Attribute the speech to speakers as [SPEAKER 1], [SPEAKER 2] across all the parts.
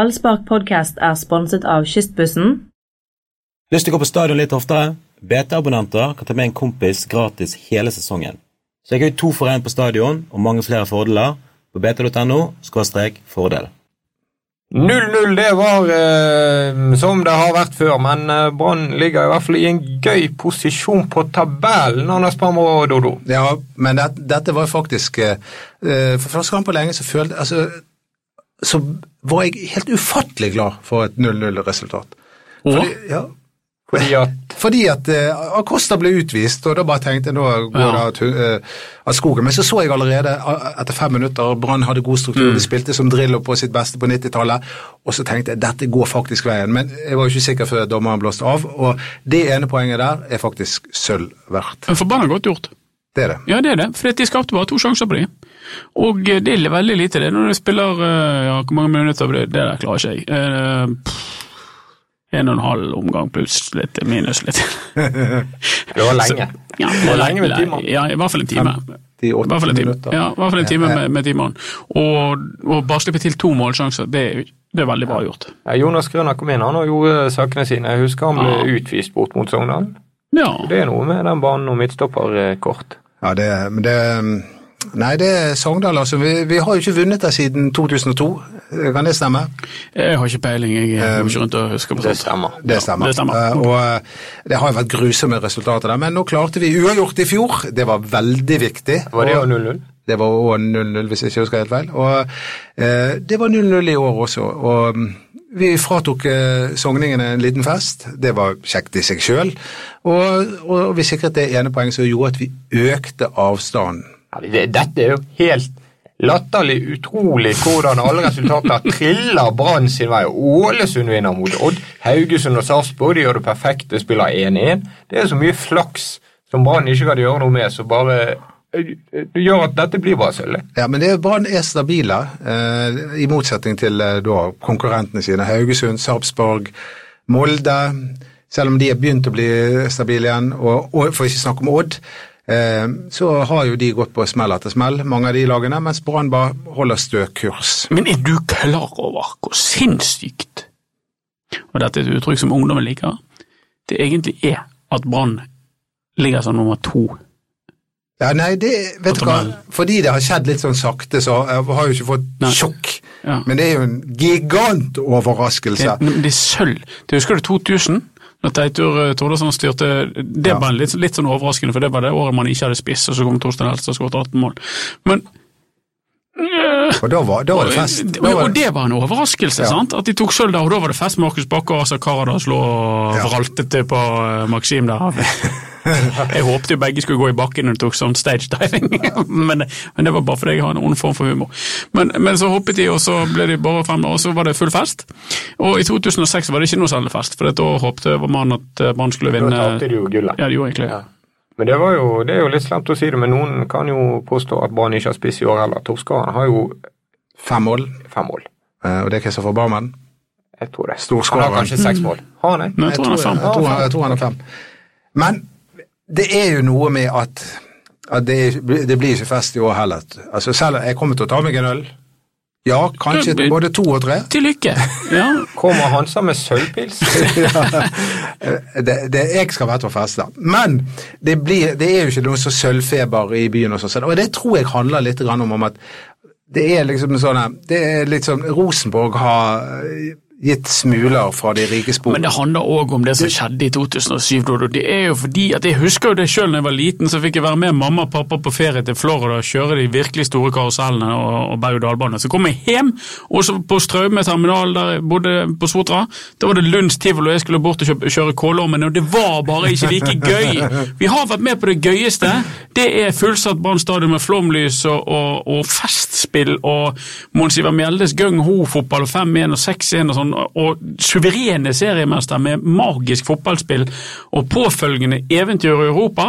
[SPEAKER 1] Ballspark podcast er sponset av Kystbussen,
[SPEAKER 2] Lyst til å gå på stadion litt oftere? BT-abonnenter kan ta med en kompis gratis hele sesongen. Så jeg har jo to for én på stadion, og mange flere fordeler. På bt.no fordel.
[SPEAKER 3] 0-0, det var eh, som det har vært før, men eh, Brann ligger i hvert fall i en gøy posisjon på tabellen, Anders Pammer og Dodo.
[SPEAKER 4] Ja, men det, dette var faktisk eh, eh, For første gang på lenge så følte altså, Så var jeg helt ufattelig glad for et 0-0-resultat. Fordi, ja,
[SPEAKER 3] Fordi at
[SPEAKER 4] fordi at eh, Acosta ble utvist, og da bare tenkte jeg nå går det
[SPEAKER 5] Ja.
[SPEAKER 4] at, hun- eh, at skogen. Men så så jeg allerede eh, etter fem minutter Brann hadde god struktur, de spilte som Drillo på sitt beste på 90-tallet, og så tenkte jeg dette går faktisk veien. Men jeg var jo ikke sikker før dommeren blåste av, og det ene poenget der er faktisk sølv verdt.
[SPEAKER 5] Men Forbanna godt gjort.
[SPEAKER 4] Det er det.
[SPEAKER 5] Ja, det er det. For de skapte bare to sjanser på de. Og eh, det er veldig lite, det. Når du spiller eh, ja, Hvor mange minutter blir det? Det der klarer ikke jeg. Eh, pff, En og en halv omgang pluss litt, minus litt.
[SPEAKER 3] det var lenge.
[SPEAKER 5] Ja,
[SPEAKER 3] var lenge med timer.
[SPEAKER 5] Ja, i hvert fall en time. I
[SPEAKER 4] 58
[SPEAKER 5] hvert fall en time,
[SPEAKER 4] minutter.
[SPEAKER 5] ja, i hvert fall en time med, med timeren. Og, og bare slippe til to målsjanser, det, er jo- det er veldig bra gjort.
[SPEAKER 3] Ja, Jonas Grønner kom inn han og gjorde sakene sine. Jeg husker han ble utvist bort mot Sogndal.
[SPEAKER 5] Ja,
[SPEAKER 3] Det er noe med den banen og midtstopperkort.
[SPEAKER 4] Ja, det, men det mm, Nei, det er Sogndal, altså. Vi, vi har jo ikke vunnet der siden 2002, kan det stemme?
[SPEAKER 5] jeg har ikke peiling, jeg går ikke rundt og husker på
[SPEAKER 3] Um, Det
[SPEAKER 5] sånt.
[SPEAKER 3] stemmer.
[SPEAKER 4] Det stemmer.
[SPEAKER 5] det stemmer.
[SPEAKER 4] Eh, og eh, det har jo vært grusomme resultater der, men nå klarte vi uavgjort i fjor. Det var veldig viktig.
[SPEAKER 3] Var det
[SPEAKER 4] og,
[SPEAKER 3] jo 0-0?
[SPEAKER 4] det var også 0-0, hvis jeg ikke husker helt feil. Og eh, det var 0-0 i år også. Og mm, vi fratok eh, sogningene en liten fest. Det var kjekt i seg sjøl. Og, og vi sikret det ene poenget som gjorde at vi økte avstanden.
[SPEAKER 3] Ja, det, dette er jo helt latterlig utrolig hvordan alle resultater triller Brann sin vei. Ålesund vinner mot Odd, Haugesund og Sarpsborg de gjør det perfekte, spiller 1-1. Det er så mye flaks som Brann ikke kan gjøre noe med, så bare eh, det gjør at dette blir bare sølv.
[SPEAKER 4] Ja, men det er Brann er stabile, eh, i motsetning til eh, da, konkurrentene sine. Haugesund, Sarpsborg, Molde. Selv om de har begynt å bli stabile igjen, og, og for ikke snakke om Odd, eh, så har jo de gått på smell etter smell, mange av de lagene, mens Brann bare holder stø kurs.
[SPEAKER 5] Men er du klar over hvor sinnssykt, og dette er et uttrykk som ungdommen liker, det egentlig er at Brann ligger som nummer to?
[SPEAKER 4] Ja, nei, det, vet
[SPEAKER 5] På
[SPEAKER 4] du hva,
[SPEAKER 5] tabellen.
[SPEAKER 4] fordi det har skjedd litt sånn sakte, så jeg har jo ikke fått
[SPEAKER 5] Nei.
[SPEAKER 4] sjokk.
[SPEAKER 5] Ja.
[SPEAKER 4] Men det er jo en
[SPEAKER 5] Det,
[SPEAKER 4] gigantoverraskelse.
[SPEAKER 5] men det er sølv. Det Husker du 2000? Da Teitur eh, Tordesson styrte Det
[SPEAKER 4] Ja.
[SPEAKER 5] var litt, litt sånn overraskende, for det var det året man ikke hadde spiss, og så kom Torstein Helstad og skåret 18 mål. Men
[SPEAKER 4] Og da var, da var det fest. Da
[SPEAKER 5] Og,
[SPEAKER 4] var
[SPEAKER 5] og det var en overraskelse,
[SPEAKER 4] Ja.
[SPEAKER 5] sant? At de tok sølv der, og da var det fest. Markus Bakke og Asa Karadas lå og vraltete på eh, Maxim der. Jeg håpte jo begge skulle gå i bakken når de tok sånn stage diving, men, men det var bare fordi jeg har en ond form for humor. Men, men så hoppet de, og så ble de bare frem, og så var det full fest. Og i 2006 var det ikke noe særlig fest, for da håpte man at eh, Brann skulle
[SPEAKER 3] Da
[SPEAKER 5] vinne.
[SPEAKER 3] tapte de jo gullet.
[SPEAKER 5] Ja, de gjorde egentlig det.
[SPEAKER 3] Ja. Men det, var jo, det er jo litt slemt å si det, men noen kan jo påstå at Brann ikke har spiss i år heller. Toppskåreren har jo
[SPEAKER 4] fem mål,
[SPEAKER 3] fem mål.
[SPEAKER 4] eh, og det er Kristoffer Barmen.
[SPEAKER 3] Jeg tror det.
[SPEAKER 4] Storskåreren.
[SPEAKER 3] Han har kanskje seks mål. Har han det?
[SPEAKER 5] Men jeg tror han er fem.
[SPEAKER 4] Jeg tror, jeg tror han er fem. Men det er jo noe med at, at det, er- det blir ikke fest i år heller. Altså selv Jeg kommer til å ta meg en øl. Ja, kanskje
[SPEAKER 5] Ja, men-
[SPEAKER 4] både to og tre.
[SPEAKER 5] Til lykke! Ja,
[SPEAKER 3] Kommer Hansa med sølvpils?
[SPEAKER 4] Det, det, jeg skal være til å feste. Men det, blir, det er jo ikke noe så sølvfeber i byen. Og, sånn, og det tror jeg handler litt grann om, om at det er liksom sånn her- det er litt sånn Rosenborg har gitt smuler fra de rike spor.
[SPEAKER 5] Men det handler òg om det som skjedde i 2007, Dodo. Det er jo fordi at jeg husker jo det sjøl da jeg var liten, så fikk jeg være med mamma og pappa på ferie til Florida og kjøre de virkelig store karusellene og, og berg-og-dal-bane. Så kom jeg hjem, og så på Straume terminal der jeg bodde på Sotra, da var det Lunds tivoli, og jeg skulle bort og kjøpe, kjøre Kålormen, og det var bare ikke like gøy. Vi har vært med på det gøyeste. Det er fullsatt Brann stadion med flomlys og, og, og festspill og Mons Ivar Mjeldes gung-ho-fotball og 5-1 og 6-1 og sånn, og suverene seriemester med magisk fotballspill og påfølgende eventyr i Europa.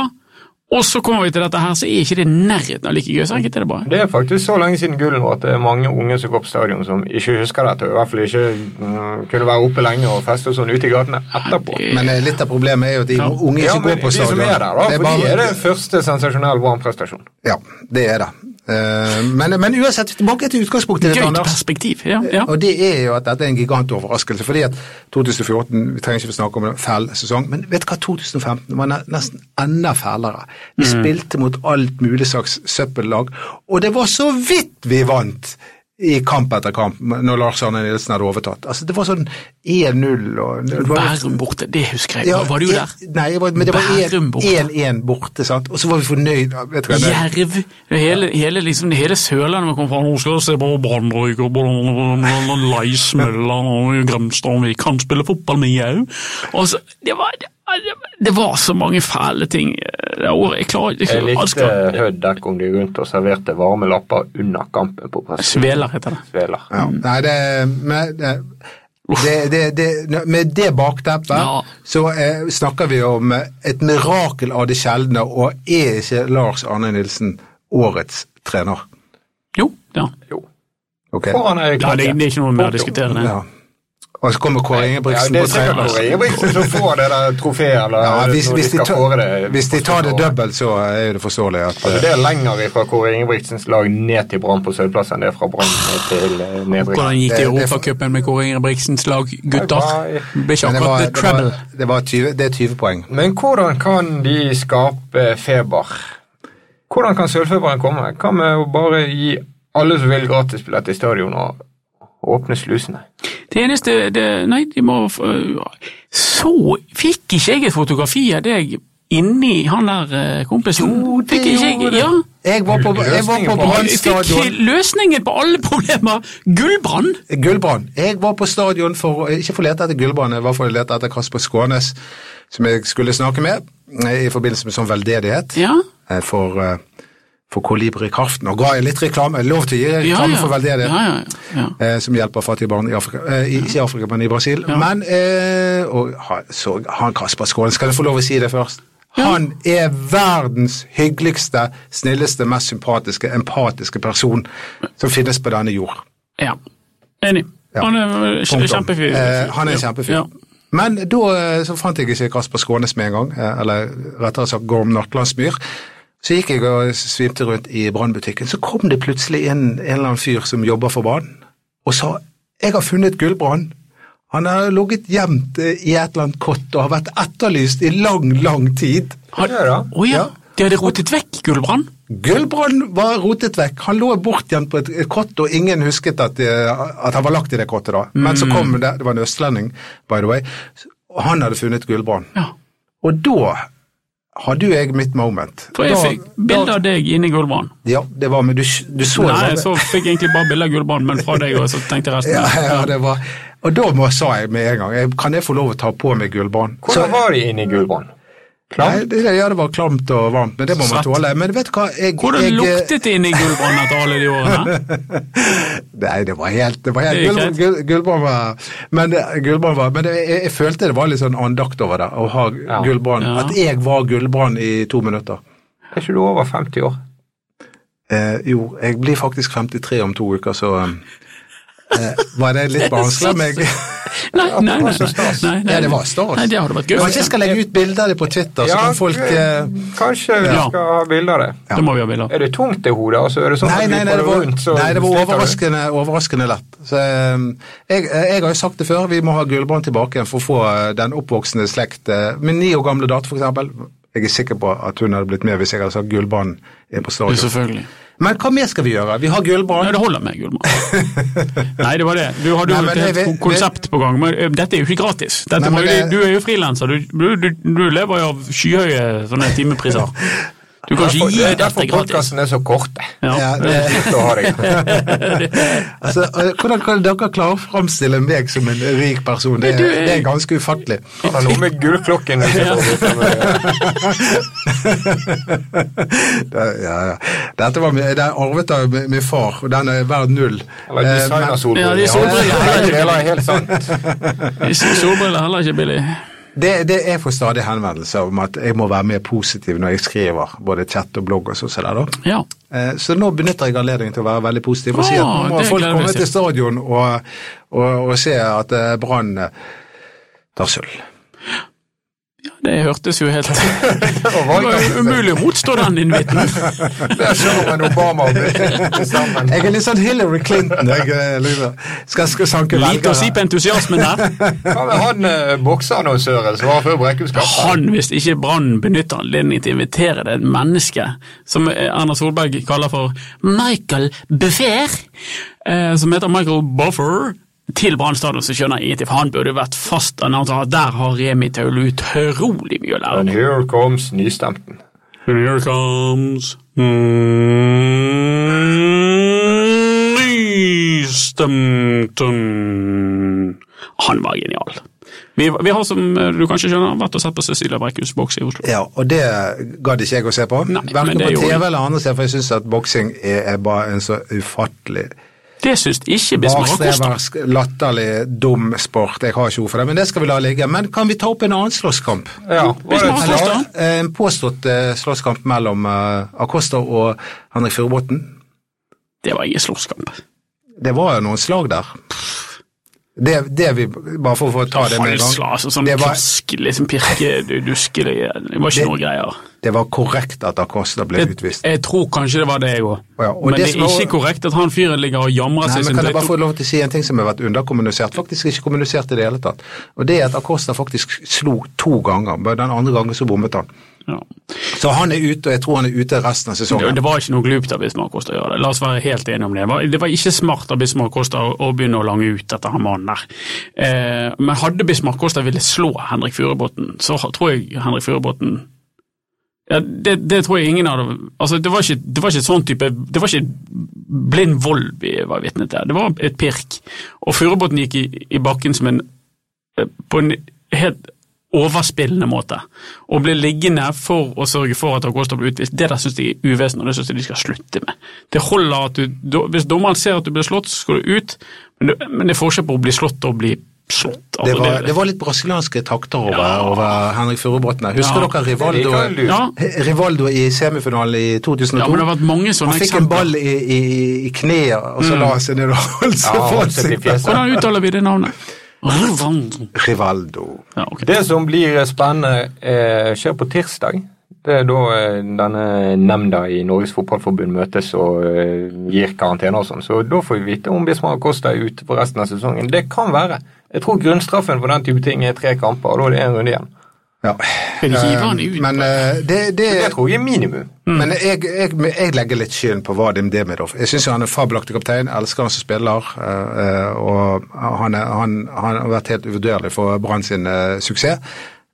[SPEAKER 5] Og så kommer vi til dette her, så er ikke det nærheten av like gøy. Så enkelt er det bare.
[SPEAKER 3] Det er faktisk så lenge siden gullen var at det er mange unge som går på stadion som ikke husker dette, og i hvert fall ikke mm, kunne være oppe lenge og feste og sånn ute i gatene etterpå.
[SPEAKER 4] Men eh, litt av problemet er jo at de unge ikke
[SPEAKER 3] Ja, men
[SPEAKER 4] går på
[SPEAKER 3] de
[SPEAKER 4] stadion.
[SPEAKER 3] som er der, da,
[SPEAKER 4] Det er
[SPEAKER 3] for de
[SPEAKER 4] bare-
[SPEAKER 3] er det første sensasjonelle Brann-prestasjon.
[SPEAKER 4] Ja, det er det. Eh, men, men uansett, tilbake til utgangspunktet ditt,
[SPEAKER 5] Gøyt
[SPEAKER 4] Anders.
[SPEAKER 5] perspektiv. Ja, ja.
[SPEAKER 4] Og det er jo at dette er en gigantoverraskelse. fordi at 2014 Vi trenger ikke å snakke om en fæl sesong, men vet du hva? 2015 var ne- nesten enda fælere. Vi spilte mot alt mulig slags søppellag, og det var så vidt vi vant i kamp etter kamp når Lars Arne Nilsen hadde overtatt. Altså, Det var sånn 1-0 og det var-
[SPEAKER 5] Bærum borte, det husker jeg. var du
[SPEAKER 4] jeg-
[SPEAKER 5] der?
[SPEAKER 4] Nei, jeg var, men det var
[SPEAKER 5] Bærum
[SPEAKER 4] 1-1
[SPEAKER 5] borte.
[SPEAKER 4] borte. sant? Og så var vi fornøyd. Vet du hva, det,
[SPEAKER 5] Jerv. Det hele, hele, liksom, det hele Sørlandet kom fra Nå skal vi se på Brannrøyk og Leismølla og Grimstad, og vi kan spille fotball med jau. Og så, det, var, det, var- det var så mange fæle ting eh, det året. Jeg klarer ikke
[SPEAKER 3] Jeg
[SPEAKER 5] alt
[SPEAKER 3] likte
[SPEAKER 5] skal-
[SPEAKER 3] Hødd der kom de rundt og serverte varme lapper under kampen på pressen.
[SPEAKER 5] Sveler heter det.
[SPEAKER 3] Sveler.
[SPEAKER 4] ja, nei, det, men, det, det, det, det Med det bakteppet
[SPEAKER 5] Ja.
[SPEAKER 4] så eh, snakker vi om eh, et mirakel av det sjeldne, og er ikke Lars Arne Nilsen årets trener?
[SPEAKER 5] Jo, ja.
[SPEAKER 3] Jo.
[SPEAKER 4] Ok?
[SPEAKER 3] Foran Erik
[SPEAKER 5] ja det, det
[SPEAKER 3] Hansen.
[SPEAKER 5] er ikke noe mer å
[SPEAKER 3] Punktum.
[SPEAKER 5] diskutere. det.
[SPEAKER 4] Ja. Og så kommer Kåre Ingebrigtsen
[SPEAKER 3] ja,
[SPEAKER 4] på
[SPEAKER 3] det er sikkert
[SPEAKER 4] trener.
[SPEAKER 3] Kåre Ingebrigtsen som får det der trofeet. Eller,
[SPEAKER 4] Ja, hvis,
[SPEAKER 3] når
[SPEAKER 4] hvis, de
[SPEAKER 3] skal
[SPEAKER 4] tar,
[SPEAKER 3] kåre det,
[SPEAKER 4] hvis de tar det dobbelt, så er det forståelig at
[SPEAKER 3] Altså,
[SPEAKER 4] eh,
[SPEAKER 3] det er lenger fra Kåre Ingebrigtsens lag ned til Brann på Sølvplass enn det er fra Brann ned til eh,
[SPEAKER 5] Hvordan
[SPEAKER 3] nedrykk.
[SPEAKER 5] gikk det i
[SPEAKER 4] Det- det-
[SPEAKER 5] Europacupen med Kåre Ingebrigtsens lag,
[SPEAKER 3] Bye,
[SPEAKER 5] gutter?
[SPEAKER 3] bye.
[SPEAKER 5] Ble ikke
[SPEAKER 4] men det,
[SPEAKER 5] akkurat
[SPEAKER 4] var,
[SPEAKER 5] the
[SPEAKER 4] det, var,
[SPEAKER 5] treble.
[SPEAKER 4] det, var 20, det er 20 poeng.
[SPEAKER 3] Men hvordan kan de skape feber? Hvordan kan sølvfeberen komme? Hva med å bare gi alle som vil gratisbillett i stadion og åpne slusene?
[SPEAKER 5] Det eneste det, Nei, de må f- øh, Så fikk ikke jeg et fotografi av deg inni han der eh, kompisen?
[SPEAKER 4] Jo, det
[SPEAKER 5] fikk ikke
[SPEAKER 4] gjorde
[SPEAKER 5] jeg, ja.
[SPEAKER 4] Jeg var på, jeg var på Brann
[SPEAKER 5] Jeg fikk
[SPEAKER 4] stadion.
[SPEAKER 5] løsningen på alle problemer! Gullbrann!
[SPEAKER 4] Gullbrann. Jeg var på stadion for ikke for å lete etter Gullbrann, jeg var for å lete etter Kasper Skånes, som jeg skulle snakke med eh, i forbindelse med sånn veldedighet
[SPEAKER 5] Ja.
[SPEAKER 4] eh, for, eh, for Kolibri Kraften. Og ga jeg litt reklame, lov til å gi
[SPEAKER 5] Ja,
[SPEAKER 4] reklame
[SPEAKER 5] ja.
[SPEAKER 4] for veldedighet.
[SPEAKER 5] Ja, ja, ja.
[SPEAKER 4] eh, Som hjelper fattige barn i Afrika, eh, i- ikke i Afrika, men i Brasil. Men eh, og han, så, han Kasper Skånes, kan jeg få lov å si det først? Han er verdens hyggeligste, snilleste, mest sympatiske, empatiske person som finnes på denne jord.
[SPEAKER 5] ja. Enig.
[SPEAKER 4] Ja.
[SPEAKER 5] Han er øh, kje-
[SPEAKER 4] Punktum.
[SPEAKER 5] kjempefyr.
[SPEAKER 4] Eh, han er en
[SPEAKER 5] Ja.
[SPEAKER 4] kjempefyr.
[SPEAKER 5] Ja.
[SPEAKER 4] Men da eh, så fant jeg ikke Kasper Skånes med en gang, eh, eller rettere sagt Gorm Natlandsmyr. Så gikk jeg og svimte rundt i brannbutikken, så kom det plutselig inn en eller annen fyr som jobber for brann, og sa 'jeg har funnet gullbrann'. Han har ligget gjemt eh, i et eller annet kott og har vært etterlyst i lang, lang tid.
[SPEAKER 5] Had-
[SPEAKER 3] Det er da.
[SPEAKER 5] Å ja. De hadde rotet vekk Gullbrann?
[SPEAKER 4] Gullbrann var rotet vekk. Han lå bortgjemt på et et kott, og ingen husket at, eh, at han var lagt i det kottet da. Men så
[SPEAKER 5] Mm.
[SPEAKER 4] kom det, det var en østlending, by the way, og han hadde funnet Gullbrann.
[SPEAKER 5] Ja.
[SPEAKER 4] Og da hadde jo jeg mitt moment.
[SPEAKER 5] For jeg
[SPEAKER 4] Da-
[SPEAKER 5] fikk bilde av deg inni Gullbrann.
[SPEAKER 4] Ja, det var, men du, du så det.
[SPEAKER 5] Nei, så fikk jeg egentlig bare bilde av Gullbrann, men fra deg, og så tenkte jeg resten.
[SPEAKER 4] Ja, ja, det var. Og da må, sa jeg med en gang, jeg- kan jeg få lov å ta på meg Gullbrann?
[SPEAKER 3] Hvordan var de inne i Gullbrann?
[SPEAKER 4] Nei, det, ja, det var klamt og varmt, men det må man
[SPEAKER 5] Svett.
[SPEAKER 4] tåle. Men vet du hva? Jeg,
[SPEAKER 5] Hvordan
[SPEAKER 4] jeg,
[SPEAKER 5] luktet det inni Gullbrann etter alle de årene?
[SPEAKER 4] Nei, det var helt, det var helt
[SPEAKER 5] Det er
[SPEAKER 4] Gullbrand-
[SPEAKER 5] greit.
[SPEAKER 4] Gull- Gullbrand var Men, eh, Gullbrand var, men jeg, jeg- jeg følte det var litt sånn andakt over det, å ha
[SPEAKER 3] Ja.
[SPEAKER 4] Gullbrand.
[SPEAKER 5] Ja.
[SPEAKER 4] At jeg var Gullbrand i to minutter.
[SPEAKER 3] Er ikke du over 50 år?
[SPEAKER 4] Eh, jo, jeg blir faktisk 53 om to uker, så eh, var det litt barnslig. Men jeg,
[SPEAKER 5] Nei, nei, nei. nei,
[SPEAKER 3] så stas.
[SPEAKER 5] nei, nei.
[SPEAKER 4] ja, det var stas.
[SPEAKER 5] Nei, det hadde vært gøy.
[SPEAKER 4] Kanskje jeg skal legge ut bilder av det på Twitter, så kan folk eh,
[SPEAKER 3] Kanskje vi
[SPEAKER 5] Ja.
[SPEAKER 3] skal ha bilder av det.
[SPEAKER 5] Det må vi ha bilde av.
[SPEAKER 3] Er det tungt det hodet? Altså, er det sånn
[SPEAKER 4] Nei,
[SPEAKER 3] at du
[SPEAKER 4] nei, nei,
[SPEAKER 3] får
[SPEAKER 4] det var,
[SPEAKER 3] rundt, så
[SPEAKER 4] nei, det var
[SPEAKER 3] sliter du?
[SPEAKER 4] overraskende, overraskende lett. Så, eh, jeg, jeg har jo sagt det før, vi må ha Gullbrand tilbake igjen for å få eh, den oppvoksende slekt eh, Min ni år gamle datter, for eksempel. Jeg er sikker på at hun hadde blitt med hvis jeg hadde sagt Gullbrand er på
[SPEAKER 5] Ja,
[SPEAKER 4] stadion.
[SPEAKER 5] Selvfølgelig.
[SPEAKER 4] Men hva mer skal vi gjøre? Vi har
[SPEAKER 5] Nei,
[SPEAKER 4] Gullbrand.
[SPEAKER 5] det holder med Gullbrann. Nei, det var det. Du hadde
[SPEAKER 4] Nei,
[SPEAKER 5] jo
[SPEAKER 4] men
[SPEAKER 5] et helt
[SPEAKER 4] jeg vet-
[SPEAKER 5] konsept på gang, men ø, dette er jo ikke gratis.
[SPEAKER 4] Nei,
[SPEAKER 5] Dette må
[SPEAKER 4] men
[SPEAKER 5] jo,
[SPEAKER 4] det-
[SPEAKER 5] du er jo frilanser, du, du, du, du lever jo av skyhøye sånne timepriser. Du kan ikke
[SPEAKER 3] Derfor-
[SPEAKER 5] gi
[SPEAKER 3] det er
[SPEAKER 5] dette
[SPEAKER 3] derfor
[SPEAKER 5] gratis.
[SPEAKER 3] podkastene er så korte.
[SPEAKER 5] Ja.
[SPEAKER 4] Ja, det-
[SPEAKER 3] Slutt å ha det.
[SPEAKER 4] Altså, eh, hvordan kan dere klare å framstille meg som en rik person? Det,
[SPEAKER 5] du eh,
[SPEAKER 4] er-
[SPEAKER 5] er-
[SPEAKER 4] det er ganske ufattelig.
[SPEAKER 3] Han har noe med gullklokken å gjøre.
[SPEAKER 4] Det, ja, ja. Dette var, min- det er arvet av min min far, og den er verd null.
[SPEAKER 3] Eller
[SPEAKER 4] Eh, men-
[SPEAKER 5] Ja, det er solbriller.
[SPEAKER 3] Begge deler er helt sant.
[SPEAKER 5] Solbriller er heller ikke billig.
[SPEAKER 4] Det, det er for stadig henvendelser om at jeg må være mer positiv når jeg skriver både chat og blogg og sånn. som det er da.
[SPEAKER 5] Ja.
[SPEAKER 4] Eh, Så nå benytter jeg anledningen til å være veldig positiv og si at nå
[SPEAKER 5] Ah,
[SPEAKER 4] må
[SPEAKER 5] det
[SPEAKER 4] folk
[SPEAKER 5] gleder vi
[SPEAKER 4] komme
[SPEAKER 5] oss til.
[SPEAKER 4] til stadion og, og, og se at eh, Brann eh, tar sølv.
[SPEAKER 5] Ja, Det hørtes jo helt
[SPEAKER 3] Og
[SPEAKER 5] Det var jo
[SPEAKER 3] valgkampen.
[SPEAKER 5] umulig å motstå den invitten.
[SPEAKER 3] Der kjører man sånn Obama og Bush sammen.
[SPEAKER 4] Jeg er litt sånn Hillary Clinton. Jeg, eh, liksom. skal, skal sanke
[SPEAKER 5] Lite å si
[SPEAKER 4] velgere.
[SPEAKER 5] på entusiasmen der.
[SPEAKER 3] Hva med han eh, bokseannonsøren som var før Brekkhus skapte?
[SPEAKER 5] Han, hvis ikke Brann benytter anledningen til å invitere det mennesket som eh, Erna Solberg kaller for Michael Buffer, eh, som heter Michael Buffer, til Brann stadion, så skjønner jeg ingenting, for han burde jo vært fast annonser. Der har Remi Taule utrolig mye å lære.
[SPEAKER 3] And here comes nystemten.
[SPEAKER 5] And here comes Mm, Nystemten. Han var genial. Vi, vi har, som du kanskje skjønner, vært og sett på Cecilia Brekkhus boks i Oslo.
[SPEAKER 4] Ja, og det gadd ikke jeg å se på.
[SPEAKER 5] Nei, men
[SPEAKER 4] Verken
[SPEAKER 5] det
[SPEAKER 4] på
[SPEAKER 5] gjorde
[SPEAKER 4] TV
[SPEAKER 5] vi.
[SPEAKER 4] eller andre steder, for jeg syns at boksing er, er bare en så ufattelig
[SPEAKER 5] Det syns ikke Bismar Acosta.
[SPEAKER 4] bakstreversk, latterlig, dum sport. Jeg har ikke ord for det, men det skal vi la ligge. Men kan vi ta opp en annen slåsskamp?
[SPEAKER 3] Ja,
[SPEAKER 5] Hvis man har
[SPEAKER 3] var det
[SPEAKER 5] forstått
[SPEAKER 3] klart?
[SPEAKER 5] han?
[SPEAKER 4] Eh, En påstått eh, slåsskamp mellom eh, Acosta og Henrik Furubotn.
[SPEAKER 5] Det var ingen slåsskamp.
[SPEAKER 4] Det var jo noen slag der. Det, det vi, bare for å få ta det med en
[SPEAKER 5] Halsla, altså, sånn
[SPEAKER 4] gang. Det var,
[SPEAKER 5] klask, liksom pirke, du, duske, det det var ikke
[SPEAKER 4] Det-
[SPEAKER 5] noe greier.
[SPEAKER 4] det var korrekt at Acosta ble
[SPEAKER 5] Jeg,
[SPEAKER 4] utvist.
[SPEAKER 5] jeg tror kanskje det var det, jeg òg.
[SPEAKER 4] Ja, og
[SPEAKER 5] Men
[SPEAKER 4] det
[SPEAKER 5] det er
[SPEAKER 4] som er-
[SPEAKER 5] ikke korrekt at han fyren ligger og jamrer
[SPEAKER 4] Nei,
[SPEAKER 5] seg.
[SPEAKER 4] men
[SPEAKER 5] sin
[SPEAKER 4] Kan jeg
[SPEAKER 5] dritt
[SPEAKER 4] bare få lov til å si en ting som har vært underkommunisert? Faktisk ikke kommunisert i det hele tatt. Og det er at Acosta faktisk slo to ganger, men den andre gangen så bommet han.
[SPEAKER 5] Ja.
[SPEAKER 4] Så han er ute, og jeg tror han er ute resten av
[SPEAKER 5] Det,
[SPEAKER 4] sesongen.
[SPEAKER 5] det var ikke noe glupt av Bismar Kosta å gjøre det. La oss være helt enige om det. Det var- Det var ikke smart av Bismar Kosta å, å begynne å lange ut etter han mannen der. Eh, men hadde Bismar Kosta ville slå Henrik Furubotn, så ha- tror jeg Henrik Furubotn ja, det, det tror jeg ingen hadde altså, det, var ikke, det var ikke sånn type Det var ikke blind vold vi var vitne til. Det var et pirk. Og Furubotn gikk i, i bakken som en på en helt overspillende måte. Å bli liggende for å sørge for at Acosta blir utvist, det der syns jeg er uvesen, og det syns jeg de skal slutte med. Det holder at du, da- Hvis dommeren ser at du blir slått, så skal du ut, men det, men det er forskjell på å bli slått og å bli slått. Altså,
[SPEAKER 4] Det var, det var litt brasilianske takter over, over Henrik Furubotn. der. Husker
[SPEAKER 5] Ja.
[SPEAKER 4] dere
[SPEAKER 3] Det
[SPEAKER 4] Rivaldo?
[SPEAKER 3] liker du.
[SPEAKER 5] ja,
[SPEAKER 4] Rivaldo i semifinalen i 2002.
[SPEAKER 5] ja, men det har vært mange
[SPEAKER 4] han
[SPEAKER 5] sånne Mm.
[SPEAKER 4] fikk en ball i, i, i kneet, og så la han seg ned og holdt
[SPEAKER 3] Ja,
[SPEAKER 4] seg for
[SPEAKER 3] holdt seg til
[SPEAKER 4] ansiktet.
[SPEAKER 3] fjeset.
[SPEAKER 5] Hvordan uttaler vi det navnet? Rwanda.
[SPEAKER 4] Rivaldo.
[SPEAKER 5] Ja, ok.
[SPEAKER 3] Det som blir spennende, eh, skjer på tirsdag. Det er da eh, denne nemnda i Norges Fotballforbund møtes og eh, gir karantene og sånn. Så da får vi vite om Bismar Acosta er ute for resten av sesongen. Det kan være. Jeg tror grunnstraffen for den type ting er tre kamper, og da er det én runde igjen.
[SPEAKER 4] Ja.
[SPEAKER 5] Skal de hive han ut?
[SPEAKER 4] Men eh, det, det,
[SPEAKER 3] Det tror jeg er minimum.
[SPEAKER 4] Men jeg, jeg, jeg legger litt skylden på Vadim Demidov. Jeg syns han er fabelaktig kaptein, elsker han som spiller. eh, eh, og han, er, han, han har vært helt uvurderlig for Brann sin eh, suksess.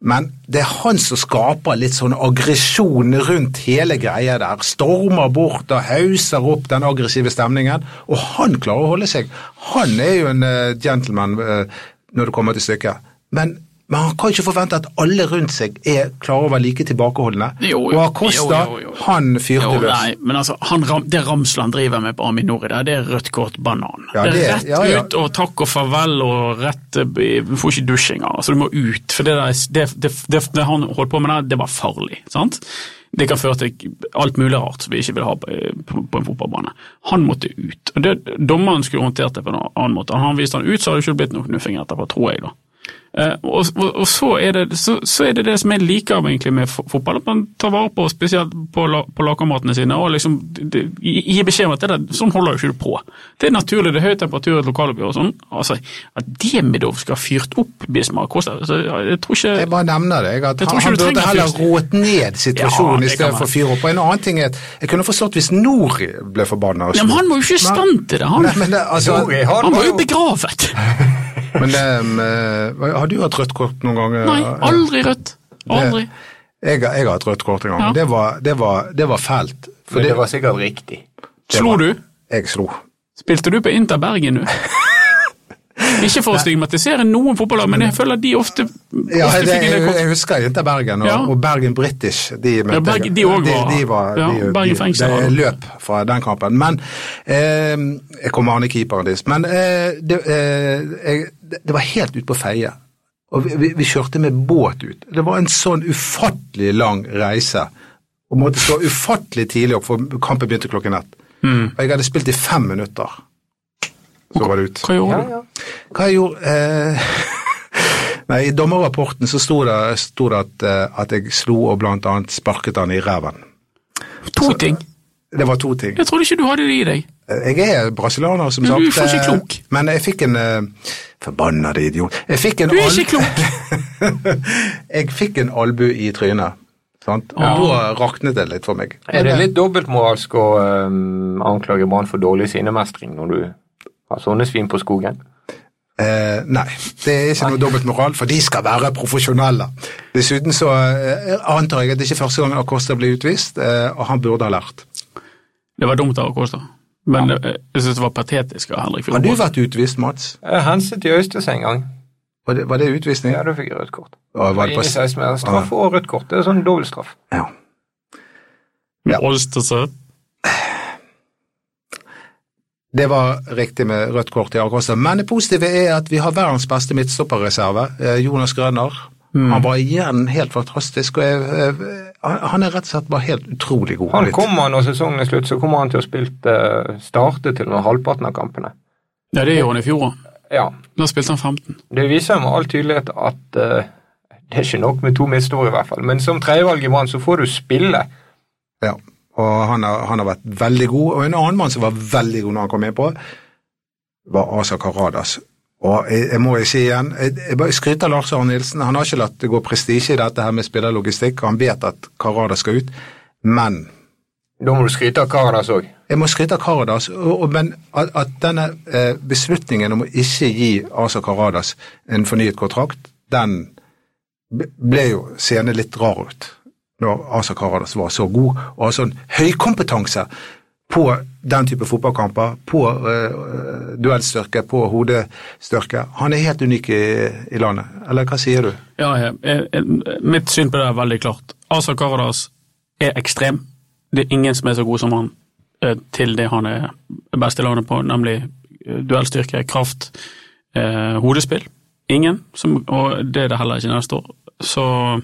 [SPEAKER 4] Men det er han som skaper litt sånn aggresjon rundt hele greia der. Stormer bort og hauser opp den aggressive stemningen, og han klarer å holde seg. Han er jo en eh, gentleman eh, når det kommer til stykket. Men, men han kan ikke forvente at alle rundt seg er klarer å være like tilbakeholdne.
[SPEAKER 5] Jo, jo.
[SPEAKER 4] Og Acosta,
[SPEAKER 5] Jo, jo, jo.
[SPEAKER 4] han fyrte
[SPEAKER 5] Jo,
[SPEAKER 4] løs.
[SPEAKER 5] Nei, men altså, han, ram- det Ramsland driver med på Aminor i dag, det er rødt kort banan.
[SPEAKER 4] Ja,
[SPEAKER 5] det,
[SPEAKER 4] det-
[SPEAKER 5] er rett
[SPEAKER 4] ja, ja.
[SPEAKER 5] ut og takk og farvel og rett eh, Du får ikke dusj engang. Altså, du må ut. For det, der, det, det, det, det han holdt på med der, det var farlig. sant? Det kan føre til alt mulig rart som vi ikke vil ha på, eh, på, på en fotballbane. Han måtte ut. og det, Dommeren skulle håndtert det på en annen måte. Hadde han vist han ut, så hadde det ikke blitt noe knuffing etterpå, tror jeg. da. Eh, og, og, og så, er det, så, så er det det som jeg liker egentlig med fo- fotball, at man tar vare på spesielt på, la- på lagkameratene sine og liksom de- de- gi- gir beskjed om at det der, sånn holder du ikke på. Det er naturlig, det er høy temperatur i et lokaloppgjør og sånn. Altså, At Demidov skal ha fyrt opp Bismar Kosta, altså, jeg tror ikke
[SPEAKER 4] Jeg bare nevner det. Jeg, at
[SPEAKER 5] Jeg tror
[SPEAKER 4] han,
[SPEAKER 5] ikke
[SPEAKER 4] han
[SPEAKER 5] du
[SPEAKER 4] burde
[SPEAKER 5] trenger
[SPEAKER 4] heller
[SPEAKER 5] fyr.
[SPEAKER 4] roet ned
[SPEAKER 5] Ja,
[SPEAKER 4] situasjonen
[SPEAKER 5] det
[SPEAKER 4] i stedet
[SPEAKER 5] kan
[SPEAKER 4] for å fyre opp. Og en annen ting er at jeg kunne forstått hvis Nori ble forbanna. og
[SPEAKER 5] Nei, men
[SPEAKER 4] slo.
[SPEAKER 5] Han var jo ikke i stand til det, han.
[SPEAKER 4] Nei, men det, altså,
[SPEAKER 3] Nori, han
[SPEAKER 5] Han var
[SPEAKER 3] var
[SPEAKER 5] jo
[SPEAKER 3] jo-
[SPEAKER 5] begravet.
[SPEAKER 4] men det, eh, har du hatt rødt kort noen ganger?
[SPEAKER 5] Nei, aldri rødt. Aldri.
[SPEAKER 4] Jeg, jeg har hatt rødt kort en gang.
[SPEAKER 5] Ja.
[SPEAKER 4] Det, var, det, var, det var fælt. For
[SPEAKER 3] Men
[SPEAKER 4] det,
[SPEAKER 3] det var sikkert riktig.
[SPEAKER 5] Slo du?
[SPEAKER 4] jeg slo.
[SPEAKER 5] Spilte du på Inter Bergen, du? Ikke for å stigmatisere noen fotballag, men jeg føler de ofte, ofte
[SPEAKER 4] Ja, det,
[SPEAKER 5] fikk en
[SPEAKER 4] jeg,
[SPEAKER 5] del kort.
[SPEAKER 4] jeg husker Inter Bergen og,
[SPEAKER 5] Ja.
[SPEAKER 4] og Bergen British. De, møtte
[SPEAKER 5] Ja, Berg-
[SPEAKER 4] jeg.
[SPEAKER 5] de også var-
[SPEAKER 4] de, de var
[SPEAKER 5] ja,
[SPEAKER 4] de,
[SPEAKER 5] Bergen
[SPEAKER 4] de,
[SPEAKER 5] fengsel var
[SPEAKER 4] det
[SPEAKER 5] det.
[SPEAKER 4] løp fra den kampen. Men eh, Jeg kommer an i keeperen deres. Men eh, det, eh, jeg, det det var helt ut på Feie. Og vi, vi, vi kjørte med båt ut. Det var en sånn ufattelig lang reise. Og måtte stå ufattelig tidlig opp, for kampen begynte klokken ett.
[SPEAKER 5] Mm.
[SPEAKER 4] Og jeg hadde spilt i fem minutter. Så var det ut.
[SPEAKER 5] Hva gjorde du?
[SPEAKER 4] Hva jeg gjorde eh, Nei, I dommerrapporten så sto det, sto det at, eh, at jeg slo og blant annet sparket han i ræven.
[SPEAKER 5] To ting.
[SPEAKER 4] Det var to ting. Eh,
[SPEAKER 5] Jeg trodde ikke du hadde det i deg.
[SPEAKER 4] Jeg er brasilianer, som
[SPEAKER 5] Men
[SPEAKER 4] sagt.
[SPEAKER 5] du er for ikke
[SPEAKER 4] eh,
[SPEAKER 5] klok.
[SPEAKER 4] Men jeg fikk en eh, Forbanna idiot. Jeg fikk en
[SPEAKER 5] Du er
[SPEAKER 4] al-
[SPEAKER 5] ikke klok.
[SPEAKER 4] jeg fikk en albu i trynet. Sant? Og da raknet det litt for meg.
[SPEAKER 3] Er det litt dobbeltmoralsk å øhm, anklage Brann for dårlig sinnemestring når du har sånne svin på skogen?
[SPEAKER 4] Eh, nei, det er ikke noe dobbeltmoral, for de skal være profesjonelle. Dessuten så eh, antar jeg at det ikke er første gangen Acosta blir utvist, eh, og han burde ha lært.
[SPEAKER 5] Det var dumt av Kåstad. Men eh, jeg synes det var patetisk av Henrik
[SPEAKER 4] Har du
[SPEAKER 5] Fjordvold.
[SPEAKER 4] vært utvist, Mats?
[SPEAKER 3] Jeg henset Eh, i Øystese en gang.
[SPEAKER 4] Var det, var det utvisning?
[SPEAKER 3] Ja, da fikk jeg rødt kort.
[SPEAKER 4] Og var det
[SPEAKER 3] Inn i
[SPEAKER 4] på, Ah.
[SPEAKER 3] 16 meter. Straff og rødt kort. Det er sånn dobbeltstraff.
[SPEAKER 4] ja. Ja.
[SPEAKER 5] Olstersø.
[SPEAKER 4] Det var riktig med rødt kort til Acosta, men det positive er at vi har verdens beste midtstopperreserve, eh, Jonas Grønner. Han var igjen helt fantastisk, og jeg, eh, han han er rett og slett bare helt utrolig god.
[SPEAKER 3] Han
[SPEAKER 4] Litt.
[SPEAKER 3] kommer når sesongen er slutt, så kommer han til å spilt, eh, starte til under halvparten av kampene.
[SPEAKER 5] Ja, det gjorde han i fjor òg.
[SPEAKER 3] Ja,
[SPEAKER 5] Da spilte han 15.
[SPEAKER 3] Det viser med all tydelighet at eh, det er ikke nok med to midtstorer, i hvert fall. Men som tredjevalg i Brann, så får du spille.
[SPEAKER 4] Ja, og han har, han har vært veldig god. Og en annen mann som var veldig god når han kom inn på, var Asa Karadas. Og jeg, jeg må jo si igjen, jeg, jeg bare skryter av Lars Arne Nilsen. Han har ikke latt det gå prestisje i dette her med spillerlogistikk, og han vet at Karadas skal ut. Men
[SPEAKER 3] Da må du skryte av Karadas òg.
[SPEAKER 4] jeg må skryte av Karadas, og, og, men at, at denne eh, beslutningen om å ikke gi Asa Karadas en fornyet kontrakt, den b- ble jo seende litt rar ut når Asa Karadas var så god og har sånn høykompetanse på den type fotballkamper, på eh, duellstyrke, på hodestyrke. Han er helt unik i, i landet. Eller hva sier du?
[SPEAKER 5] Ja, ja. Eh, eh, Mitt syn på det er veldig klart. Asa Karadas er ekstrem. Det er ingen som er så god som han eh, til det han er best i landet på, nemlig eh, duellstyrke, kraft, eh, hodespill. Ingen, som, og det er det heller ikke neste år. Så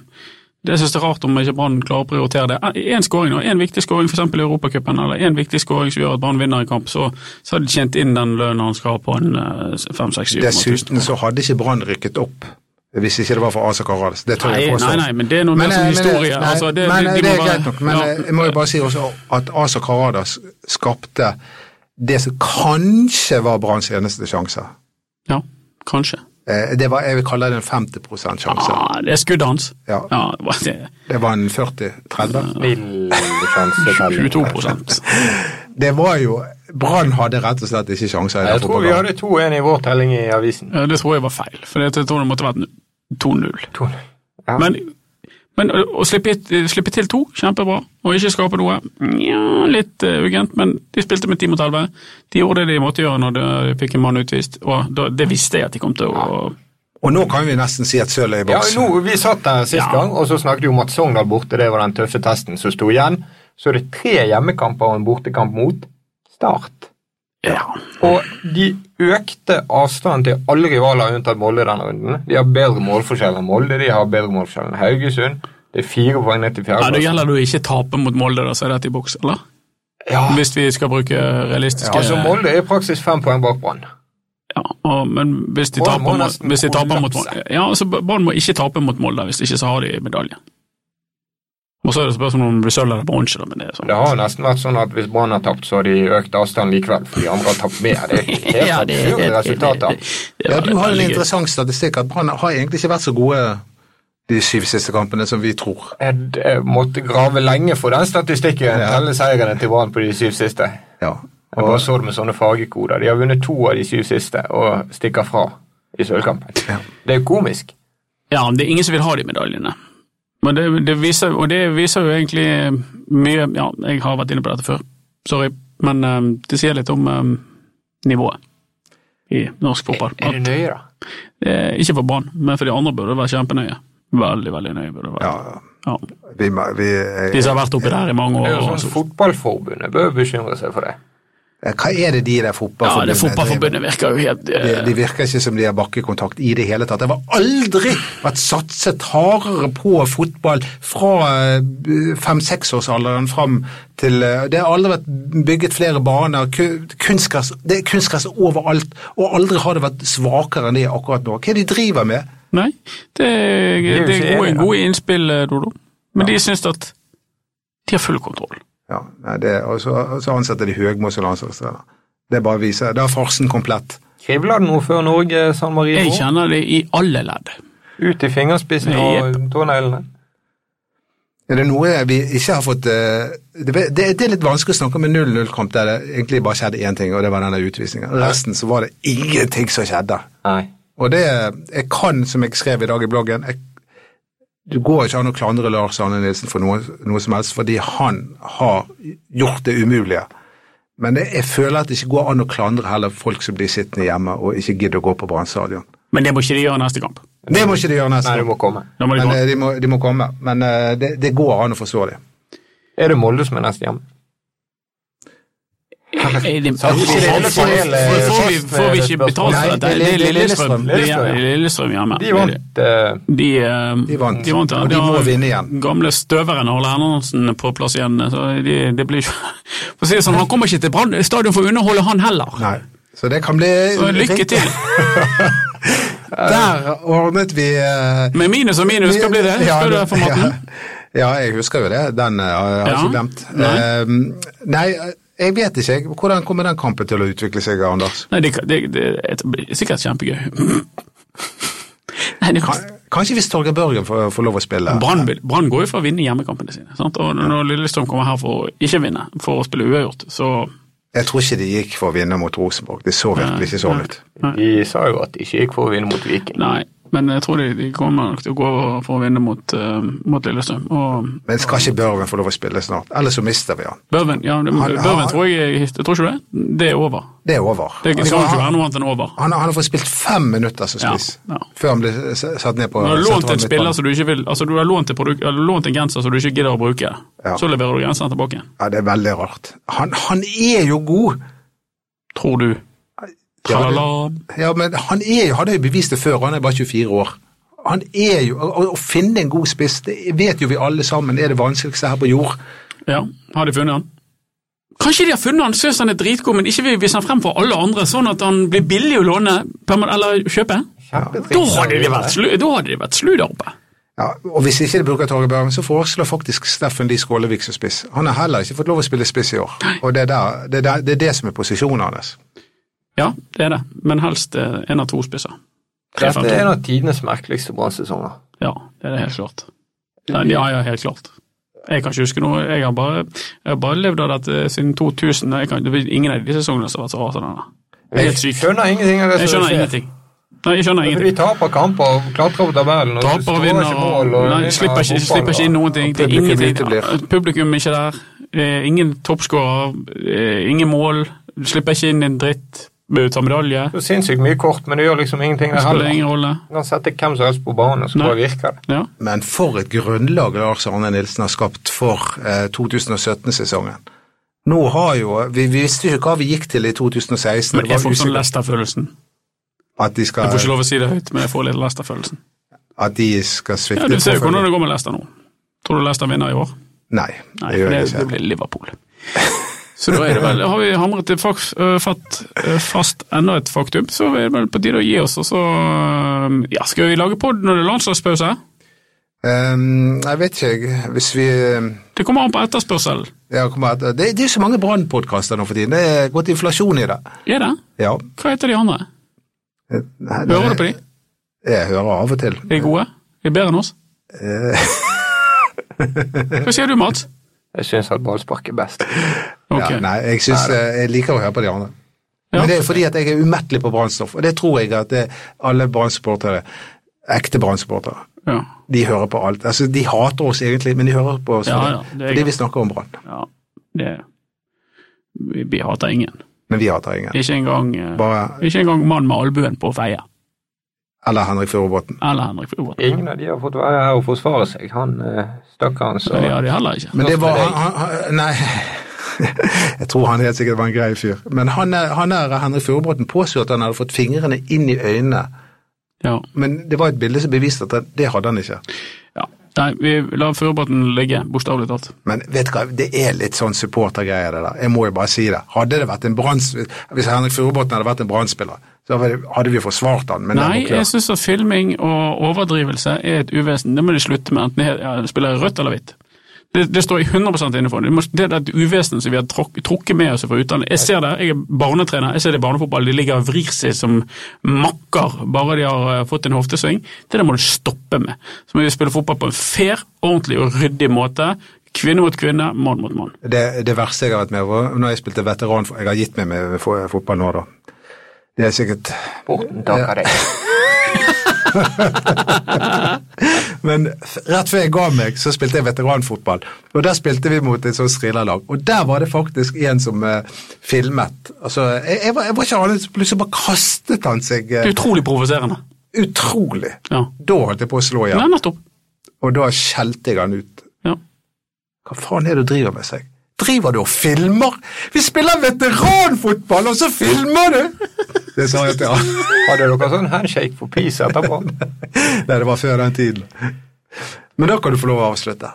[SPEAKER 5] det synes jeg er rart om ikke Brann klarer å prioritere det. Eh, Én scoring, nå, en viktig scoring f.eks. i Europacupen, eller en viktig scoring som gjør at Brann vinner en kamp, så, så har de tjent inn den lønnen han skal ha på en eh, fem-seks-syv.
[SPEAKER 4] Dessuten så hadde ikke Brann rykket opp hvis ikke det var for Asa Karadas. Det tør
[SPEAKER 5] Nei,
[SPEAKER 4] jeg påstå.
[SPEAKER 5] nei, nei, men det er noe mer som
[SPEAKER 4] eh,
[SPEAKER 5] historie.
[SPEAKER 4] nei,
[SPEAKER 5] altså, det,
[SPEAKER 4] men,
[SPEAKER 5] de,
[SPEAKER 4] eh, det
[SPEAKER 5] de må
[SPEAKER 4] er
[SPEAKER 5] være-
[SPEAKER 4] greit nok, men
[SPEAKER 5] ja.
[SPEAKER 4] eh, jeg må jo bare si også at Asa Karadas skapte det som kanskje var Branns eneste sjanse.
[SPEAKER 5] ja, kanskje.
[SPEAKER 4] Eh, Det var, jeg vil kalle det en 50 sjanse.
[SPEAKER 5] Ah, det er skuddet hans.
[SPEAKER 4] Ja,
[SPEAKER 5] Ja, det var- det er
[SPEAKER 4] det var en 40-30.
[SPEAKER 3] Vill sjanse til.
[SPEAKER 5] 22 prosent.
[SPEAKER 4] Det var jo Brann hadde rett og slett ikke sjanser i
[SPEAKER 3] Jeg
[SPEAKER 4] den
[SPEAKER 3] tror vi
[SPEAKER 4] fotballen.
[SPEAKER 3] hadde 2-1 i vår telling i avisen.
[SPEAKER 5] Det tror jeg var feil, for jeg tror det måtte vært 2-0.
[SPEAKER 3] Ja.
[SPEAKER 5] Men, men å å slippe, hit- slippe til to, kjempebra, og ikke skape noe, ja, litt eh, ugent, men de spilte med 10 mot 11. De gjorde det de måtte gjøre når de eh, fikk en mann utvist, og da, det visste jeg at de kom til å
[SPEAKER 4] Og nå kan vi nesten si at sølvet er i
[SPEAKER 3] Ja,
[SPEAKER 4] boks.
[SPEAKER 3] nå, Vi satt der sist
[SPEAKER 5] Ja.
[SPEAKER 3] gang, og så snakket vi om at Sogndal borte, det var den tøffe testen som sto igjen. Så er det tre hjemmekamper og en bortekamp mot Start.
[SPEAKER 5] Ja.
[SPEAKER 3] Og de økte avstanden til alle rivaler unntatt Molde denne runden. De har bedre målforskjell enn Molde, de har bedre målforskjell enn Haugesund. Det er fire poeng ned til
[SPEAKER 5] ja det
[SPEAKER 3] fjerdeplass.
[SPEAKER 5] gjelder det å ikke tape mot Molde, da, så er dette i boks, eller?
[SPEAKER 3] Ja,
[SPEAKER 5] Hvis vi skal bruke realistiske
[SPEAKER 3] altså Molde er i praksis fem poeng bak Brann.
[SPEAKER 5] Ja, og, men hvis de
[SPEAKER 3] Brann
[SPEAKER 5] taper,
[SPEAKER 3] må
[SPEAKER 5] mot-
[SPEAKER 3] nesten
[SPEAKER 5] hvis de taper mot
[SPEAKER 3] kollapse.
[SPEAKER 5] Ja, altså Brann må ikke tape mot Molde, hvis ikke så har de medalje. Og så er det spørsmål om det blir sølv eller bronse, da, men det er sånn.
[SPEAKER 3] Det har jo nesten vært sånn at hvis Brann har tapt, så har de økt avstand likevel, for de andre har tapt mer. Det er helt
[SPEAKER 5] Ja, det- det-
[SPEAKER 3] absurde
[SPEAKER 5] det-
[SPEAKER 3] resultater.
[SPEAKER 5] det-
[SPEAKER 4] Ja,
[SPEAKER 5] det
[SPEAKER 4] du
[SPEAKER 5] er
[SPEAKER 4] har en
[SPEAKER 5] veldig gøy.
[SPEAKER 4] interessant statistikk at Brann har egentlig ikke vært så gode de syv siste kampene som vi tror.
[SPEAKER 3] Jeg jeg eh, måtte grave lenge for den statistikken.
[SPEAKER 4] Ja.
[SPEAKER 3] Telle seirene til Brann på de syv siste.
[SPEAKER 4] Ja.
[SPEAKER 3] Jeg bare så det med sånne fargekoder. De har vunnet to av de syv siste og stikker fra i sølvkampen. Det er jo komisk.
[SPEAKER 5] Ja, men det er ingen som vil ha de medaljene. Men det, det viser, og det viser jo egentlig mye Ja, jeg har vært inne på dette før, sorry, men eh, det sier litt om eh, nivået i norsk fotball.
[SPEAKER 3] Er det nøye, da?
[SPEAKER 5] Eh, ikke for Brann, men for de andre burde det være kjempenøye. Veldig, veldig nøye burde det være.
[SPEAKER 4] ja.
[SPEAKER 5] Ja.
[SPEAKER 4] Vi, må- vi, eh,
[SPEAKER 5] De som har vært oppi der i mange
[SPEAKER 3] Det er
[SPEAKER 5] år. altså.
[SPEAKER 3] jo
[SPEAKER 5] og
[SPEAKER 3] sånn
[SPEAKER 5] så-
[SPEAKER 3] Fotballforbundet bør bekymre seg for det.
[SPEAKER 4] Hva er det de i det
[SPEAKER 5] Ja,
[SPEAKER 4] fotballforbundet
[SPEAKER 5] det fotballforbundet virker jo helt eh,
[SPEAKER 4] De, de virker ikke som de har bakkekontakt i det hele tatt. Det var aldri vært satset hardere på fotball fra eh, fem-seksårsalderen fram til eh, Det har aldri vært bygget flere baner, ku- kunstgress Det er kunstgress overalt, og aldri har det vært svakere enn det akkurat nå. Hva er det de driver med?
[SPEAKER 5] Nei, det,
[SPEAKER 3] er jo
[SPEAKER 5] er- det
[SPEAKER 3] ikke
[SPEAKER 5] er gode,
[SPEAKER 3] enige.
[SPEAKER 5] gode innspill, eh, Dodo. Men de syns at de har full kontroll.
[SPEAKER 4] Ja, nei, det, og så, og så ansetter de Høgmo som landslagstrener. Det bare viser, Da er farsen komplett.
[SPEAKER 3] Kribler det noe før Norge, San
[SPEAKER 5] Jeg
[SPEAKER 3] Marino?
[SPEAKER 5] kjenner det i alle ledd.
[SPEAKER 3] Ut i fingerspissen og tåneglene?
[SPEAKER 4] Er det noe vi ikke har fått eh, Det, det, det er litt vanskelig å snakke om en 0-0-kamp der det egentlig bare skjedde én ting, og det var denne utvisningen. Resten så var det ingenting som skjedde.
[SPEAKER 3] Nei.
[SPEAKER 4] Og det Jeg kan, som jeg skrev i dag i bloggen jeg, Det går ikke an å klandre Lars Arne Nilsen for noe, noe som helst, fordi han har gjort det umulige. Men det, jeg føler at det ikke går an å klandre heller folk som blir sittende hjemme og ikke gidder å gå på Brann stadion.
[SPEAKER 5] Men det må ikke de gjøre neste kamp.
[SPEAKER 4] Det må ikke de gjøre
[SPEAKER 3] Nei,
[SPEAKER 4] neste
[SPEAKER 3] du må
[SPEAKER 4] gang.
[SPEAKER 3] komme.
[SPEAKER 5] Da må de
[SPEAKER 4] Men
[SPEAKER 5] gå.
[SPEAKER 4] eh, de må, de må komme. Men eh, det, det går an å forstå det.
[SPEAKER 3] Er det Molde som er neste hjemme?
[SPEAKER 5] Er det-
[SPEAKER 3] Sa-
[SPEAKER 5] Får- får- får- får vi- Får vi ikke betalt
[SPEAKER 4] Nei,
[SPEAKER 5] for dette?
[SPEAKER 4] det er
[SPEAKER 5] Det er
[SPEAKER 4] Lillestrøm.
[SPEAKER 5] Lillestrøm. Det
[SPEAKER 3] Lillestrøm, ja.
[SPEAKER 5] er Lillestrøm hjemme.
[SPEAKER 3] De vant. eh,
[SPEAKER 5] De, eh,
[SPEAKER 4] De vant.
[SPEAKER 5] de vant ja.
[SPEAKER 4] Og de
[SPEAKER 5] Det
[SPEAKER 4] må
[SPEAKER 5] har
[SPEAKER 4] vinne igjen.
[SPEAKER 5] Gamle støveren Harle Hernandsen på plass igjen. eh, Så de, det blir ikke For å si det sånn, han kommer ikke til Brann stadion for å underholde, han heller.
[SPEAKER 4] Nei. Så det kan bli
[SPEAKER 5] Så lykke til.
[SPEAKER 4] Der ordnet vi eh,
[SPEAKER 5] Med minus og minus, hva blir det? Husker du det
[SPEAKER 4] ja,
[SPEAKER 5] formaten?
[SPEAKER 4] ja, jeg husker jo det. Den eh, har jeg
[SPEAKER 5] Ja.
[SPEAKER 4] ikke glemt.
[SPEAKER 5] Nei.
[SPEAKER 4] Eh, nei, jeg vet ikke. jeg. Hvordan kommer den kampen til å utvikle seg, Anders?
[SPEAKER 5] Nei, det, det, det, det blir sikkert kjempegøy. Nei, det kan...
[SPEAKER 4] Kanskje hvis Torgeir Børgen får, får lov å spille?
[SPEAKER 5] Brann vil- Brann går jo for å vinne hjemmekampene sine. Sant? Og når Lillestrøm kommer her for å ikke vinne, for å spille uavgjort, så
[SPEAKER 4] Jeg tror ikke de gikk for å vinne mot Rosenborg. Det så virkelig ikke sånn ut.
[SPEAKER 3] De sa jo at de ikke gikk for å vinne mot Viking.
[SPEAKER 5] Nei. Men jeg tror de, de kommer nok til å gå over for å vinne mot, eh, mot Lillestrøm. Og
[SPEAKER 4] Men skal ikke Børven få lov å spille snart? Ellers så mister vi han.
[SPEAKER 5] Børven, ja, det,
[SPEAKER 4] Han-
[SPEAKER 5] Børven
[SPEAKER 4] han-
[SPEAKER 5] tror jeg jeg tror ikke det. Det er over.
[SPEAKER 4] Det er over.
[SPEAKER 5] Det, det
[SPEAKER 4] Altså,
[SPEAKER 5] kan jo ikke sånn være
[SPEAKER 4] han,
[SPEAKER 5] noe annet enn over.
[SPEAKER 4] han, han har fått spilt fem minutter som
[SPEAKER 5] Ja,
[SPEAKER 4] spiss
[SPEAKER 5] ja.
[SPEAKER 4] før han ble s- satt ned på
[SPEAKER 5] Du har
[SPEAKER 4] satt
[SPEAKER 5] lånt
[SPEAKER 4] han
[SPEAKER 5] en
[SPEAKER 4] midt på
[SPEAKER 5] spiller
[SPEAKER 4] den.
[SPEAKER 5] som du ikke vil Altså, du har lånt en, produkt, eller lånt en genser som du ikke gidder å bruke.
[SPEAKER 4] Ja.
[SPEAKER 5] Så leverer du genseren tilbake igjen.
[SPEAKER 4] Ja, det er veldig rart. Han, han er jo god!
[SPEAKER 5] Tror du. Tralala.
[SPEAKER 4] Ja, men han er jo, han har jo bevist det før, han er bare 24 år. Han er jo, Å, å finne en god spiss, det vet jo vi alle sammen er det vanskeligste her på jord.
[SPEAKER 5] Ja, har de funnet han? Kanskje de har funnet han, synes han er dritgod, men ikke vil vise han frem for alle andre, sånn at han blir billig å låne perman- eller kjøpe? Da hadde de vært, slu, da hadde de vært slu der oppe.
[SPEAKER 4] Ja, og Hvis ikke de bruker Torgeir Børgen, så foreslår faktisk Steffen Lie Skålevik som spiss. Han har heller ikke fått lov å spille spiss i år, og det er, der, det, er der, det, er det som er posisjonen hans.
[SPEAKER 5] Ja, det er det, men helst eh, en av to spisser. Tre,
[SPEAKER 3] Dette
[SPEAKER 5] fem,
[SPEAKER 3] er
[SPEAKER 5] to.
[SPEAKER 3] en av tidenes merkeligste brannsesonger.
[SPEAKER 5] Ja, det er det helt klart. Nei, ja, ja, helt klart. Jeg kan ikke huske noe, jeg har bare, jeg har bare levd av dette eh, siden 2000, jeg kan, det er ingen av de sesongene som har vært så rart som denne. Det er
[SPEAKER 3] Jeg
[SPEAKER 5] helt sykt.
[SPEAKER 3] skjønner ingenting av det
[SPEAKER 5] Jeg
[SPEAKER 3] som
[SPEAKER 5] skjønner
[SPEAKER 3] skjer.
[SPEAKER 5] ingenting. Nei, jeg skjønner ingenting.
[SPEAKER 3] Vi taper kamper og klatrer på tabellen. Og
[SPEAKER 5] Taper og
[SPEAKER 3] skårer
[SPEAKER 5] vinner.
[SPEAKER 3] ikke
[SPEAKER 5] og-
[SPEAKER 3] mål, og
[SPEAKER 5] Nei,
[SPEAKER 3] vinner
[SPEAKER 5] slipper ikke,
[SPEAKER 3] fotball,
[SPEAKER 5] slipper ikke inn
[SPEAKER 3] og-
[SPEAKER 5] noen ting. Det er
[SPEAKER 4] publikum
[SPEAKER 5] ingenting.
[SPEAKER 4] uteblir.
[SPEAKER 5] Publikum er ikke der. Eh, Ingen toppskårer. eh, Ingen mål. Du Slipper ikke inn en dritt. Bør Ta medalje.
[SPEAKER 3] Det er sinnssykt mye kort, men det gjør liksom ingenting der
[SPEAKER 5] Spiller ingen
[SPEAKER 3] heller.
[SPEAKER 5] rolle.
[SPEAKER 3] Du kan sette hvem som helst på banen, og så
[SPEAKER 5] Nei.
[SPEAKER 3] bare virker det.
[SPEAKER 5] Ja.
[SPEAKER 4] Men for et grunnlag Lars Arne Nilsen har skapt for eh, 2017-sesongen. Nå har jo, Vi visste jo ikke hva vi gikk til i 2016.
[SPEAKER 5] Men
[SPEAKER 4] det
[SPEAKER 5] jeg
[SPEAKER 4] var
[SPEAKER 5] får sånn
[SPEAKER 4] usikkert
[SPEAKER 5] Lester-følelsen.
[SPEAKER 4] at de
[SPEAKER 5] Jeg får ikke
[SPEAKER 4] skal,
[SPEAKER 5] lov å si det høyt, men jeg får litt Lester-følelsen.
[SPEAKER 4] at de skal svikte.
[SPEAKER 5] Ja, du ser jo
[SPEAKER 4] påfølgende.
[SPEAKER 5] hvordan det går med Lester nå. Tror du Lester vinner i år?
[SPEAKER 4] Nei,
[SPEAKER 5] Nei,
[SPEAKER 4] det
[SPEAKER 5] for
[SPEAKER 4] gjør
[SPEAKER 5] det,
[SPEAKER 4] jeg
[SPEAKER 5] det
[SPEAKER 4] ikke.
[SPEAKER 5] blir Liverpool. Så da er det vel, har vi hamret det fakt, øh, fatt, øh, fast enda et faktum, så er det vel på tide å gi oss, og så øh, ja, skal vi lage podd når det er landslagspause.
[SPEAKER 4] Ehm, jeg vet ikke, jeg. hvis vi
[SPEAKER 5] Det kommer an på etterspørsel.
[SPEAKER 4] ja, kommer at, det, det er jo så mange brannpodkaster nå for tiden. Det er gått inflasjon i det.
[SPEAKER 5] Er det?
[SPEAKER 4] Ja.
[SPEAKER 5] Hva heter de andre?
[SPEAKER 4] Nei, det-
[SPEAKER 5] Hører du på de?
[SPEAKER 4] Jeg hører av og til.
[SPEAKER 5] Er de gode? Er de bedre enn oss?
[SPEAKER 4] Eh.
[SPEAKER 5] Hva sier du, Mats?
[SPEAKER 3] Jeg syns at ballspark er best.
[SPEAKER 5] Ok.
[SPEAKER 4] Ja, nei, jeg, synes, eh, jeg liker å høre på de andre.
[SPEAKER 5] Ja.
[SPEAKER 4] Men det er fordi at jeg er umettelig på brannstoff, og det tror jeg at det, alle brannsupportere, ekte brannsupportere,
[SPEAKER 5] Ja.
[SPEAKER 4] de hører på alt. Altså, de hater oss egentlig, men de hører på oss
[SPEAKER 5] Ja,
[SPEAKER 4] fordi-
[SPEAKER 5] ja, det er
[SPEAKER 4] fordi
[SPEAKER 5] greit.
[SPEAKER 4] vi snakker om brann.
[SPEAKER 5] ja. Det, vi, vi hater ingen.
[SPEAKER 4] Men vi hater ingen.
[SPEAKER 5] Ikke engang, øh,
[SPEAKER 4] Bare,
[SPEAKER 5] ikke engang mann med albuen på feie.
[SPEAKER 4] eller Henrik Furubotn.
[SPEAKER 5] Eller Henrik Fjordbåten.
[SPEAKER 3] Ingen av de har fått være her og forsvare seg. Han eh, stakkaren så
[SPEAKER 5] Det har de heller ikke.
[SPEAKER 4] Men det var
[SPEAKER 3] Takk for
[SPEAKER 4] han, han, han- Nei. Jeg tror han helt sikkert var en grei fyr. Men han, er- han er, Henrik Furubotn påstod at han hadde fått fingrene inn i øynene,
[SPEAKER 5] Ja.
[SPEAKER 4] men det var et bilde som beviste at det hadde han ikke.
[SPEAKER 5] Ja, Nei, vi lar Førerbraten ligge, bokstavelig talt.
[SPEAKER 4] Men vet du hva, det er litt sånn supportergreier det der. Jeg må jo bare si det. Hadde det vært en brann... Hvis Henrik Furubotn hadde vært en brannspiller, så hadde vi forsvart han. Men
[SPEAKER 5] Nei,
[SPEAKER 4] det er
[SPEAKER 5] jeg
[SPEAKER 4] nok klart.
[SPEAKER 5] syns at filming og overdrivelse er et uvesen. Det må de slutte med, enten de ja, spiller i rødt eller hvitt. Det, det står jeg 100 inne for. Det må- Det er et uvesen som vi har trok- trukket med oss fra utlandet. Jeg ser det, jeg er barnetrener, jeg ser det i barnefotball. De ligger og vrir seg som makker bare de har eh, fått en hoftesving. Det der må du stoppe med. Så må vi spille fotball på en fair, ordentlig og ryddig måte. Kvinne mot kvinne, mann mot mann.
[SPEAKER 4] Det, det verste jeg har vært med på når jeg spilte veteran Jeg har gitt meg med fo- fotball nå, da. Det er sikkert
[SPEAKER 3] Borten takker deg.
[SPEAKER 4] Men f- rett før jeg ga meg, så spilte jeg veteranfotball. Og der spilte vi mot et sånt strilerlag. Og der var det faktisk en som eh, filmet. Altså, jeg, jeg, var, jeg var ikke annet, plutselig bare kastet han seg eh,
[SPEAKER 5] Det er utrolig provoserende.
[SPEAKER 4] utrolig.
[SPEAKER 5] Ja.
[SPEAKER 4] Da holdt jeg på å slå
[SPEAKER 5] Nei,
[SPEAKER 4] igjen,
[SPEAKER 5] nettopp.
[SPEAKER 4] og da skjelte jeg han ut.
[SPEAKER 5] Ja.
[SPEAKER 4] Hva faen er det du driver med seg? Driver du og filmer? Vi spiller veteranfotball, og så filmer du! Det sa jeg til han.
[SPEAKER 3] Hadde dere sånn handshake for peace etterpå?
[SPEAKER 4] Nei, det var før den tiden. Men da kan du få lov å avslutte.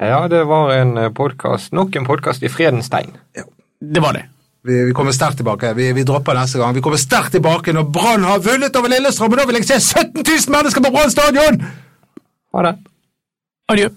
[SPEAKER 3] Ja, det var en podkast, nok en podkast i fredens tegn.
[SPEAKER 5] Det var det.
[SPEAKER 4] Vi, vi kommer sterkt tilbake. Vi, vi dropper neste gang. Vi kommer sterkt tilbake når Brann har vunnet over Lillestrøm, og da vil jeg se 17 000 mennesker på Brann stadion!
[SPEAKER 3] Ha det.
[SPEAKER 5] Adjø.